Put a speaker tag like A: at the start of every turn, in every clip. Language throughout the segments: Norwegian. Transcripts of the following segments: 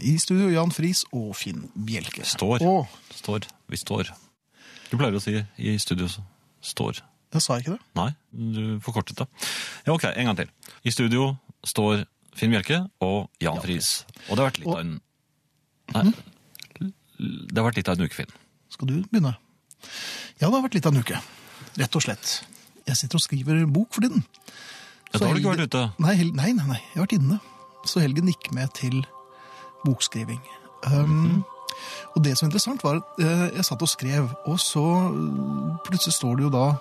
A: I studio Jan Friis og Finn Bjelke.
B: Står.
A: Å,
B: Står. Vi står. Du pleier å si i studio så- står.
A: jeg sa ikke det.
B: Nei, du forkortet det. Ja, ok, en gang til. I studio står Finn Bjelke og Jan Friis. Og det har vært litt
A: Og- Hm?
B: av en Nei. Det har vært litt av en ukefilm.
A: Skal du begynne? Ja, det har vært litt av en uke. Rett og slett. Jeg sitter og skriver bok for tiden.
B: Ja,
A: Så
B: da har du ikke
A: helgen-
B: vært ute.
A: Nei, hel... nei, nei, nei. Jeg har vært inne. Så helgen gikk med til bokskriving.
B: Mhm.
A: Um, Og det som er interessant var at eh, jeg satt og skrev, og så eh, plutselig står det jo da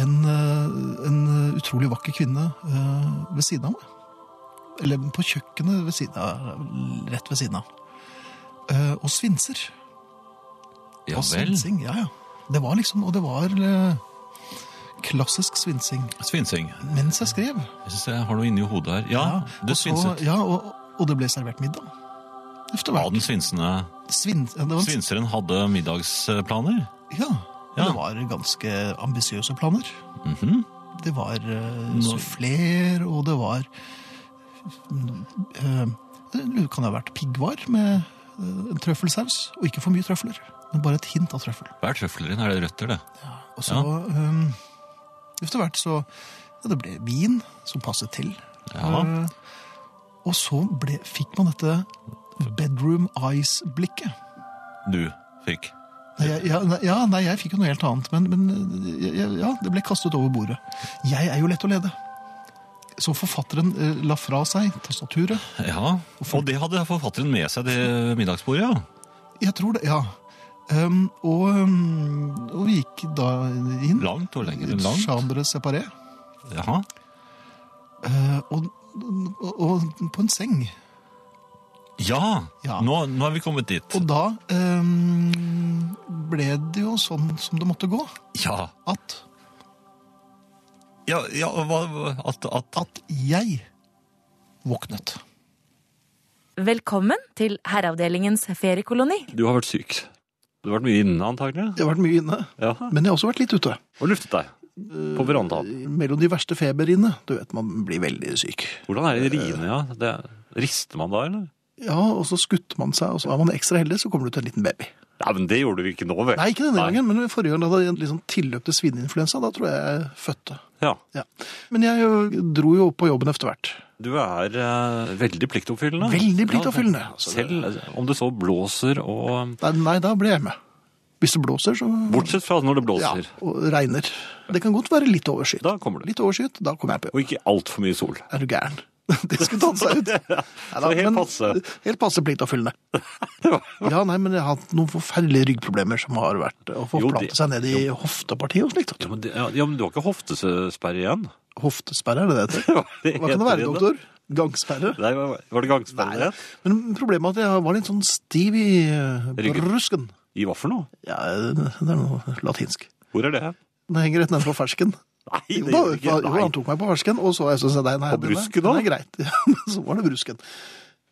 A: en, eh, en utrolig vakker kvinne eh, ved siden av meg. Eller på kjøkkenet ved siden av, rett ved siden av. Eh, og svinser.
B: Ja
A: og
B: vel.
A: svinsing, ja, ja. Det var liksom, og det var eh, klassisk svinsing
B: Svinsing.
A: mens jeg skrev.
B: Jeg syns jeg har noe inni hodet her.
A: Ja,
B: Ja, du
A: og så-
B: svinset.
A: Ja, og, og det ble servert middag. Efter
B: Ja,
A: hvert.
B: den svinsende
A: Svin, ja, det var en-
B: svinseren hadde middagsplaner.
A: Ja, men
B: Ja.
A: det var ganske ambisiøse planer.
B: Mhm.
A: Det var uh, souffler, og det var eh, Det lurer- kan ha vært piggvar med eh, en trøffelsaus, og ikke for mye trøfler. Men bare et hint av trøffel.
B: Hva er trøfler i? Er det røtter, det?
A: Og så eh, Efter hvert så ja, Det ble vin som passet til.
B: Ja.
A: Eh, og så ble, fikk man dette bedroom eyes-blikket.
B: Du fikk.
A: Nei, jeg- Ja, nei, ja, nei, jeg fikk jo noe helt annet, men, men jeg- jeg- ja, det ble kastet over bordet. Jeg er jo lett å lede. Så forfatteren eh, la fra seg tastaturet.
B: Ja, og det hadde forfatteren med seg til middagsbordet, ja.
A: Jeg tror det, ja. Ehm, og, ehm, og vi gikk da inn.
B: Langt og lenger enn langt.
A: Chambre séparé.
B: Jaha.
A: eh, og, og, og på en seng.
B: Ja,
A: Ja.
B: Nå, nå er vi kommet dit.
A: Og da ehm, ble det jo sånn som det måtte gå.
B: Ja,
A: At,
B: ja, ja hva, hva- at, at
A: at jeg våknet.
C: Velkommen til Herreavdelingens feriekoloni.
D: Du har vært syk. Du har vært mye inne, antagelig.
A: Jeg har vært mye inne,
D: Ja.
A: men jeg har også vært litt ute.
D: Og luftet deg. På verandaen.
A: mellom de verste feberiene. Du vet, man blir veldig syk.
D: Hvordan er det i riene, ja? Det, rister man da, eller?
A: Ja, og så skutter man seg, og så er man ekstra heldig, så kommer du til en liten baby.
D: Nei, men det gjorde du ikke nå, vel?
A: Nei, ikke denne
D: Nei.
A: gangen, men forrige gang da det var liksom tilløp til svineinfluensa, da tror jeg jeg fødte.
D: Ja.
A: Ja. Men jeg jo, dro jo opp på jobben etter hvert.
D: Du er eh, veldig pliktoppfyllende.
A: Veldig pliktoppfyllende.
D: Ja, selv eh, om det så blåser og
A: Nei,
D: eh,
A: nei, da ble jeg med. Hvis det blåser, så
D: Bortsett fra når det
A: ja,
D: blåser.
A: og regner. Det kan godt være litt overskyet.
D: Da kommer du.
A: Litt overskyet, da kommer jeg på jobb.
D: Og ikke altfor mye sol.
A: Er du gæren? Det skulle tatt seg ut.
D: Så helt passe.
A: Helt passe pliktoppfyllende. Ja, nei, men jeg har hatt noen forferdelige ryggproblemer som har vært å få
D: Jo, det-
A: plante seg ned i hoftepartiet og slikt.
D: Ja
A: vet du.
D: men, det, ja, ja, men du har ikke hoftesperre igjen?
A: Hoftesperre er det det heter. Hva kan det være, doktor? Gangsperre?
D: Nei, var var det gangsperre? det het?
A: Men problemet er at jeg var litt sånn stiv i eh,
D: Ryggen.
A: brusken.
D: I hva for noe?
A: Ja, det er noe latinsk.
D: Hvor er det?
A: Den henger rett nede på fersken.
D: Nei, det
A: Jo, da,
D: gjør det ikke.
A: jo,
D: Nei.
A: han tok meg på fersken, og så jeg så, så nei, nei,
D: På
A: den er-
D: brusken
A: den er
D: da?
A: greit. Ja, men så var det brusken.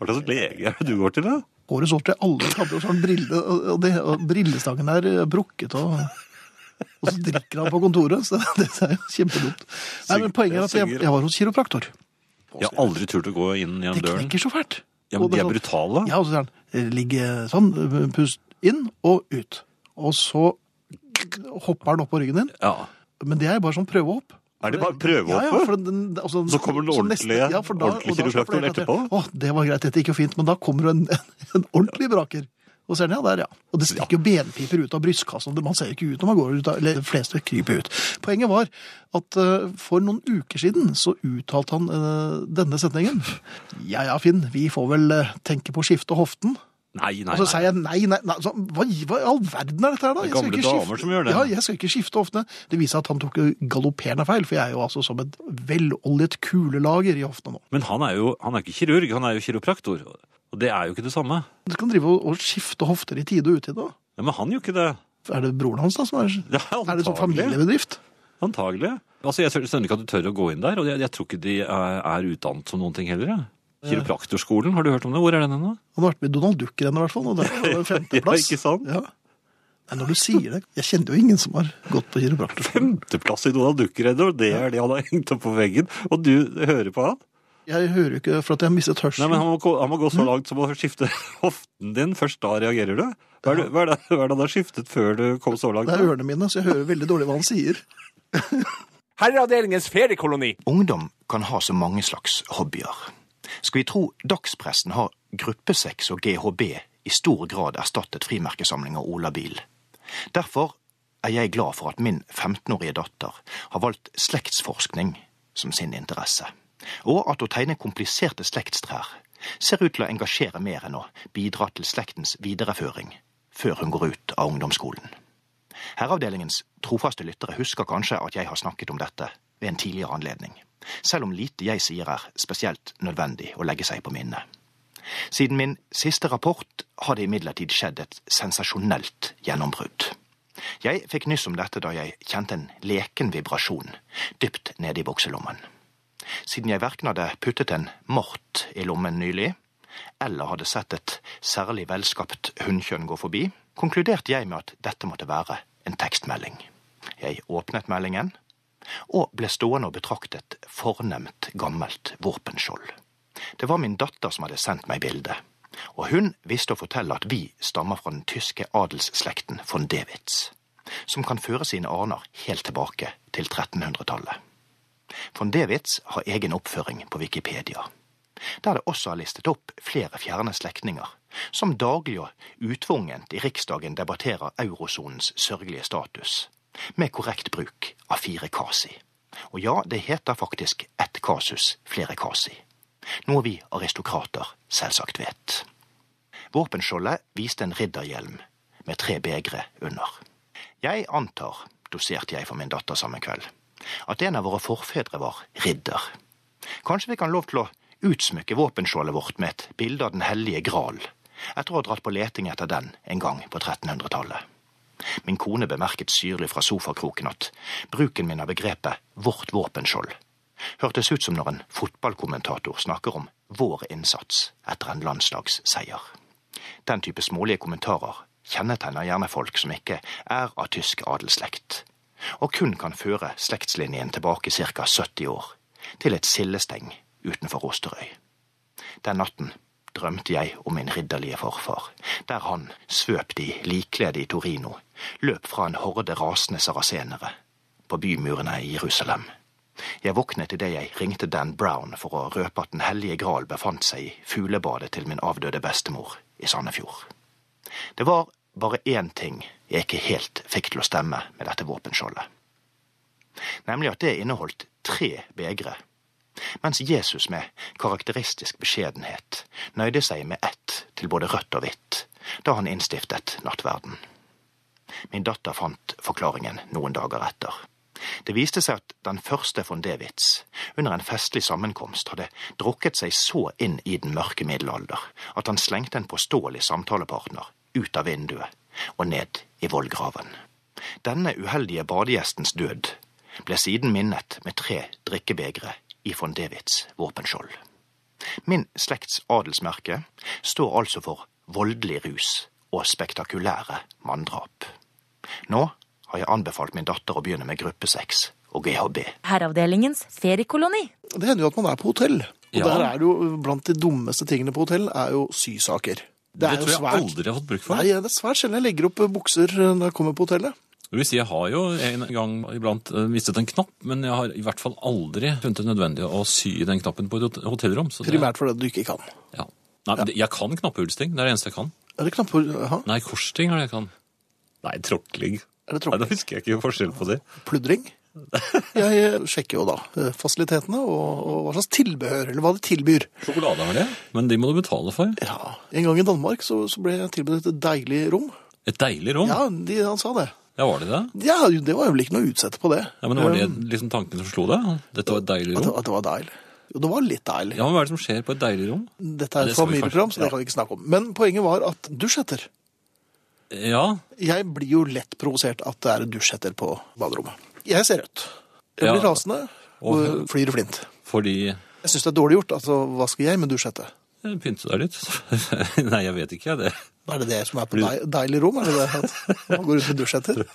D: Hva slags lege er det du går til, da?
A: Håret så til alle kanter, og så har han brille, og- og, det, og brillestangen er eh, brukket, og, og så drikker han på kontoret, så det, det er jo kjempedumt. Nei, men poenget er at jeg, jeg var hos kiropraktor.
D: Jeg har aldri turt å gå inn gjennom
A: Det
D: døren.
A: knekker så fælt.
D: Ja,
A: Og det
D: men De
A: er
D: er
A: sånn-
D: brutale.
A: Ja, og så sier han, ligge sånn, pust inn og ut. Og så hopper han opp på ryggen din,
D: Ja.
A: men det er bare sånn prøvehopp.
D: Er det bare prøvehopp?
A: Ja, ja, for den, altså,
D: Så kommer den
A: neste-
D: ordentlige-
A: for da-
D: ordentlige
A: og da skal
D: kiropraktoren
A: flere til.
D: etterpå?
A: Å, det var greit, dette gikk jo fint, men da kommer det en, en ordentlig braker. Og ser den, ja, der, ja. Og det stikker jo benpiper ut av brystkassen, og man ser ikke ut når man går ut, av- eller de fleste kryper ut. Poenget var at eh, for noen uker siden så uttalte han eh, denne setningen. Ja, ja, Finn, vi får vel eh, tenke på å skifte hoften.
D: Nei,
A: Og
D: nei,
A: så
D: nei.
A: sier jeg nei, nei, nei. Så, hva, hva i all verden er dette her, da?
D: Det er
A: Jeg skal
D: gamle
A: ikke skifte-
D: damer som gjør det.
A: Ja, jeg skal ikke skifte hoftene. Det viser seg at han tok jo galopperende feil, for jeg er jo altså som et veloljet kulelager i hoftene nå.
D: Men han er jo han er ikke kirurg, han er jo kiropraktor. Og det er jo ikke det samme.
A: Du kan drive og, og skifte hofter i tide og utide. da.
D: Ja, men han gjør ikke det.
A: Er det broren hans, da? som Er,
D: Ja,
A: er det sånn
D: antagelig.
A: familiebedrift?
D: Antagelig. Altså, Jeg skjønner ikke at du tør å gå inn der, og jeg, jeg tror ikke de er, er utdannet som noen ting heller. jeg. Kiropraktorskolen, har du hørt om det? Hvor er den henne?
A: Han har vært med i Donald Duck i den i hvert fall, og det er jo femteplass.
D: Ja, ikke sant?
A: Ja. Nei, når du sier det Jeg kjenner jo ingen som har gått på kiropraktor.
D: Femteplass i Donald Duck-redder, og det er det han har hengt opp på veggen. Og du hører på han?
A: Jeg hører jo ikke for at jeg har mistet
D: Nei,
A: hørselen.
D: men han må, gå- han må
E: Hm?
D: gå så langt som å skifte hoften din. Først da reagerer du. Hva er det, hva er det, hva er det han har skiftet før du kom så langt?
A: Det er ørene mine, så jeg hører veldig dårlig hva han sier.
F: Herreavdelingens feriekoloni.
G: Ungdom kan ha så mange slags hobbyer. Skal vi tro dagspressen har gruppesex og GHB i stor grad erstattet frimerkesamling og olabil. Derfor er jeg glad for at min 15-årige datter har valgt slektsforskning som sin interesse, og at å tegne kompliserte slektstrær ser ut til å engasjere mer enn å bidra til slektens videreføring før hun går ut av ungdomsskolen. Herreavdelingens trofaste lyttere husker kanskje at jeg har snakket om dette ved en tidligere anledning, selv om lite jeg sier er spesielt nødvendig å legge seg på minnet. Siden min siste rapport har det imidlertid skjedd et sensasjonelt gjennombrudd. Jeg fikk nyss om dette da jeg kjente en leken vibrasjon dypt nede i bukselommen. Siden jeg verken hadde puttet en mort i lommen nylig, eller hadde sett et særlig velskapt hunnkjønn gå forbi, konkluderte jeg med at dette måtte være en tekstmelding. Jeg åpnet meldingen, og ble stående og betraktet fornemt gammelt våpenskjold. Det var min datter som hadde sendt meg bildet, og hun visste å fortelle at vi stammer fra den tyske adelsslekten von Dewitz, som kan føre sine aner helt tilbake til 1300-tallet. Von Dewitz har egen oppføring på Wikipedia, der det også er listet opp flere fjerne slektninger som daglig og utvungent i Riksdagen debatterer eurosonens sørgelige status, med korrekt bruk av fire kasi. Og ja, det heter faktisk ett kasus, flere kasi. Noe vi aristokrater selvsagt vet. Våpenskjoldet viste en ridderhjelm med tre begre under. Jeg antar, doserte jeg for min datter samme kveld, at en av våre forfedre var ridder. Kanskje vi kan lov til å utsmykke våpenskjoldet vårt med et bilde av Den hellige gral, etter å ha dratt på leting etter den en gang på 1300-tallet. Min kone bemerket syrlig fra sofakroken at bruken min av begrepet vårt våpenskjold hørtes ut som når en fotballkommentator snakker om vår innsats etter en landslagsseier. Den type smålige kommentarer kjennetegner gjerne folk som ikke er av tysk adelsslekt, og kun kan føre slektslinjen tilbake ca. 70 år, til et sildesteng utenfor Osterøy. Den natten drømte jeg om min ridderlige forfar, der han, svøpt i likkledet i Torino, løp fra en horde rasende sarasenere på bymurene i Jerusalem. Jeg våknet idet jeg ringte Dan Brown for å røpe at Den hellige gral befant seg i fuglebadet til min avdøde bestemor i Sandefjord. Det var bare én ting jeg ikke helt fikk til å stemme med dette våpenskjoldet, nemlig at det inneholdt tre begre mens Jesus med karakteristisk beskjedenhet nøyde seg med ett til både rødt og hvitt da han innstiftet nattverden. Min datter fant forklaringen noen dager etter. Det viste seg at den første von Dewitz under en festlig sammenkomst hadde drukket seg så inn i den mørke middelalder at han slengte en påståelig samtalepartner ut av vinduet og ned i vollgraven. Denne uheldige badegjestens død ble siden minnet med tre drikkebegre i von Dewitz våpenskjold. Min slekts adelsmerke står altså for voldelig rus og spektakulære manndrap. Nå har jeg anbefalt min datter å begynne med gruppesex og GHB.
C: Herreavdelingens feriekoloni.
A: Det hender jo at man er på hotell. Og
D: Ja.
A: der er det jo blant de dummeste tingene på hotell er jo sysaker. Det, er
E: Det
A: jo
E: tror jeg
A: svært-
E: aldri jeg har fått bruk for.
A: Nei, det er svært sjelden jeg legger opp eh, bukser når jeg kommer på hotellet.
E: Det vil si, jeg har jo en gang iblant eh, mistet en knapp, men jeg har i hvert fall aldri funnet det nødvendig å sy den knappen på et hot- hotellrom. Så det,
A: Primært fordi du ikke kan.
E: ja. Nei, men det- jeg kan knappehullsting. Det er det eneste jeg kan.
A: Er det knapper? Jaha.
E: Nei, korsting er det jeg kan. Nei, tråkling.
A: Er det
E: Nei, da
A: tråkking?
E: husker jeg ikke forskjell på det.
A: Pludring? Jeg eh, sjekker jo da eh, fasilitetene og, og hva slags tilbehør, eller hva de tilbyr.
E: Sjokolade har det, men de må du betale for.
A: Ja, En gang i Danmark så, så ble jeg tilbudt et deilig rom.
E: Et deilig rom. Ja,
A: Ja, de, han sa det.
E: var det det?
A: Ja, Det var jo vel ikke noe å utsette på det.
E: Ja, men Var det liksom tanken som slo deg? Dette var et deilig
A: At,
E: rom?
A: det- at det var deilig. Jo, det var litt deilig.
E: Ja, men Hva er det som skjer på et deilig rom?
A: Dette er
E: Det
A: et
E: skal vi
A: familieprogram,
E: kanskje-
A: så det
E: ja.
A: kan vi ikke snakke om. Men poenget var at dusjhetter.
E: Ja,
A: Jeg blir jo lett provosert at det er dusjhetter på baderommet. Jeg ser rødt. Jeg blir
E: Ja.
A: rasende og
E: Og-
A: flyr flint.
E: fordi
A: Jeg syns det er dårlig gjort. Altså, hva skal jeg med dusjhette?
E: eh, Pynte deg litt. Nei, jeg vet ikke. jeg, Det.
A: Er det det som er på dei- deilig rom? Er det det at man går ut med dusjhetter?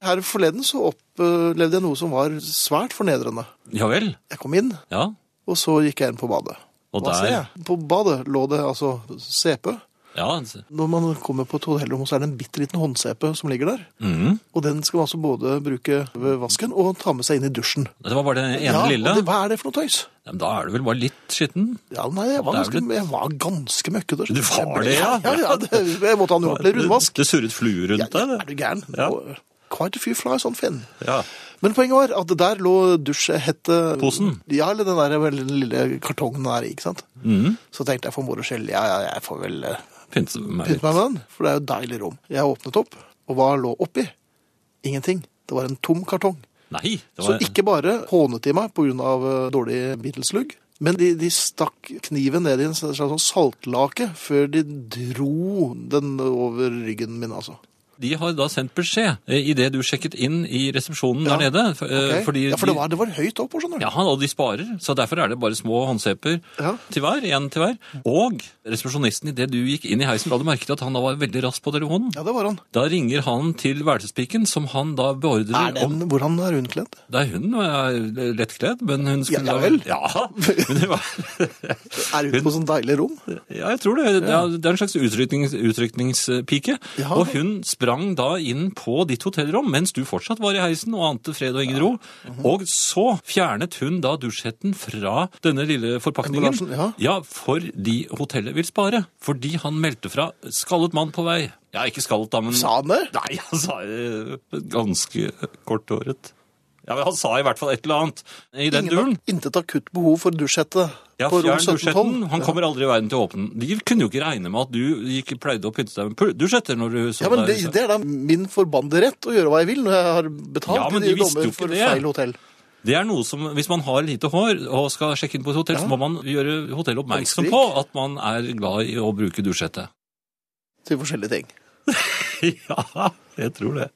A: Her forleden så opplevde jeg noe som var svært fornedrende.
E: Ja vel?
A: Jeg kom inn,
E: Ja.
A: Og så gikk jeg inn på badet.
E: Og
A: Hva
E: der-
A: ser jeg? På badet lå det altså CP.
E: Ja, altså.
A: Når man kommer på et hotellrom, så er det en bitte liten håndsepe som ligger der.
E: Mhm.
A: Og den skal man altså både bruke ved vasken og ta med seg inn i dusjen.
E: Det var bare den ene
A: ja,
E: lille.
A: og Det, hva er det for noe tøys?
E: Ja, men da er du vel bare litt skitten?
A: Ja, nei, jeg var
E: Det er
A: ganske,
E: vel
A: jeg var ganske møkkete.
E: Du var det, ja?
A: Ja, ja, det, jeg måtte ha en ordentlig rundvask.
E: Det, det surret fluer rundt
A: Ja,
E: deg,
A: Er
E: det.
A: du gæren?
E: Ja.
A: Og Quite a few flies on Finn.
E: Ja.
A: Men poenget var at der lå dusjhette...
E: Posen?
A: Ja, eller den der vel- den lille kartongen der, ikke sant?
E: Mhm.
A: Så tenkte jeg for moro skyld, ja, ja, jeg får vel eh,
E: Pynte meg
A: pynte
E: litt.
A: meg med den, for det er jo et deilig rom. Jeg åpnet opp, og hva lå oppi? Ingenting. Det var en tom kartong.
E: Nei! Det
A: Så
E: var,
A: ikke bare hånet de meg pga. eh, dårlig Beatles-lugg, men de, de stakk kniven ned i en slags sånn saltlake før de dro den over ryggen min, altså.
E: de har da sendt beskjed idet du sjekket inn i resepsjonen
A: Ja,
E: der nede. For, eh,
A: Ok?
E: fordi
A: ja, for det
E: de-
A: var, det var høyt opp, skjønner du.
E: Ja, og de sparer, så derfor er det bare små håndseper
A: Ja.
E: til hver, en til hver. Og resepsjonisten, idet du gikk inn i heisen, la du merke til at han da var veldig rask på telefonen.
A: Ja, det var han.
E: Da ringer han til værelsespiken, som han da beordrer
A: Er den,
E: om
A: hvordan er hun kledd?
E: Nei, hun er lettkledd, men hun skulle
A: Ja, ja
E: da-
A: vel.
E: Ja, men det var...
A: Er hun på sånn deilig rom?
E: Ja, jeg tror det. Det er- Det er en slags utryknings, utrykningspike.
A: Ja.
E: Og hun sprang da inn på ditt hotellrom, mens du fortsatt var i heisen og ante fred og ingen ro.
A: Mhm.
E: Og så fjernet hun da dusjhetten fra denne lille forpakningen.
A: Emballasjen, ja.
E: fordi hotellet vil spare. Fordi han meldte fra skallet mann på vei. Ja, ikke skallet da, men...
A: Sa han det?
E: Nei, han sa eh, ganske korthåret. Ja, men han sa i hvert fall et eller annet i den
A: Ingen
E: duren.
A: har intet akutt behov for dusjhette
E: Ja,
A: på rom
E: fjern
A: 1712.
E: dusjetten. Han kommer aldri i verden til å åpne den. De kunne jo ikke regne med at du gikk, pleide å pynte deg med pul- dusjetter når du så
A: Ja, men det,
E: deg.
A: det er da min forbannede rett å gjøre hva jeg vil når jeg har betalt
E: Ja, men
A: de
E: de visste jo
A: dommer
E: ikke
A: for
E: det.
A: feil hotell.
E: Det er noe som, Hvis man har lite hår og skal sjekke inn på et hotell, så må man gjøre hotellet oppmerksom på
A: Håndskrik.
E: at man er glad i å bruke dusjhette.
A: Til forskjellige ting.
E: ja, jeg tror det.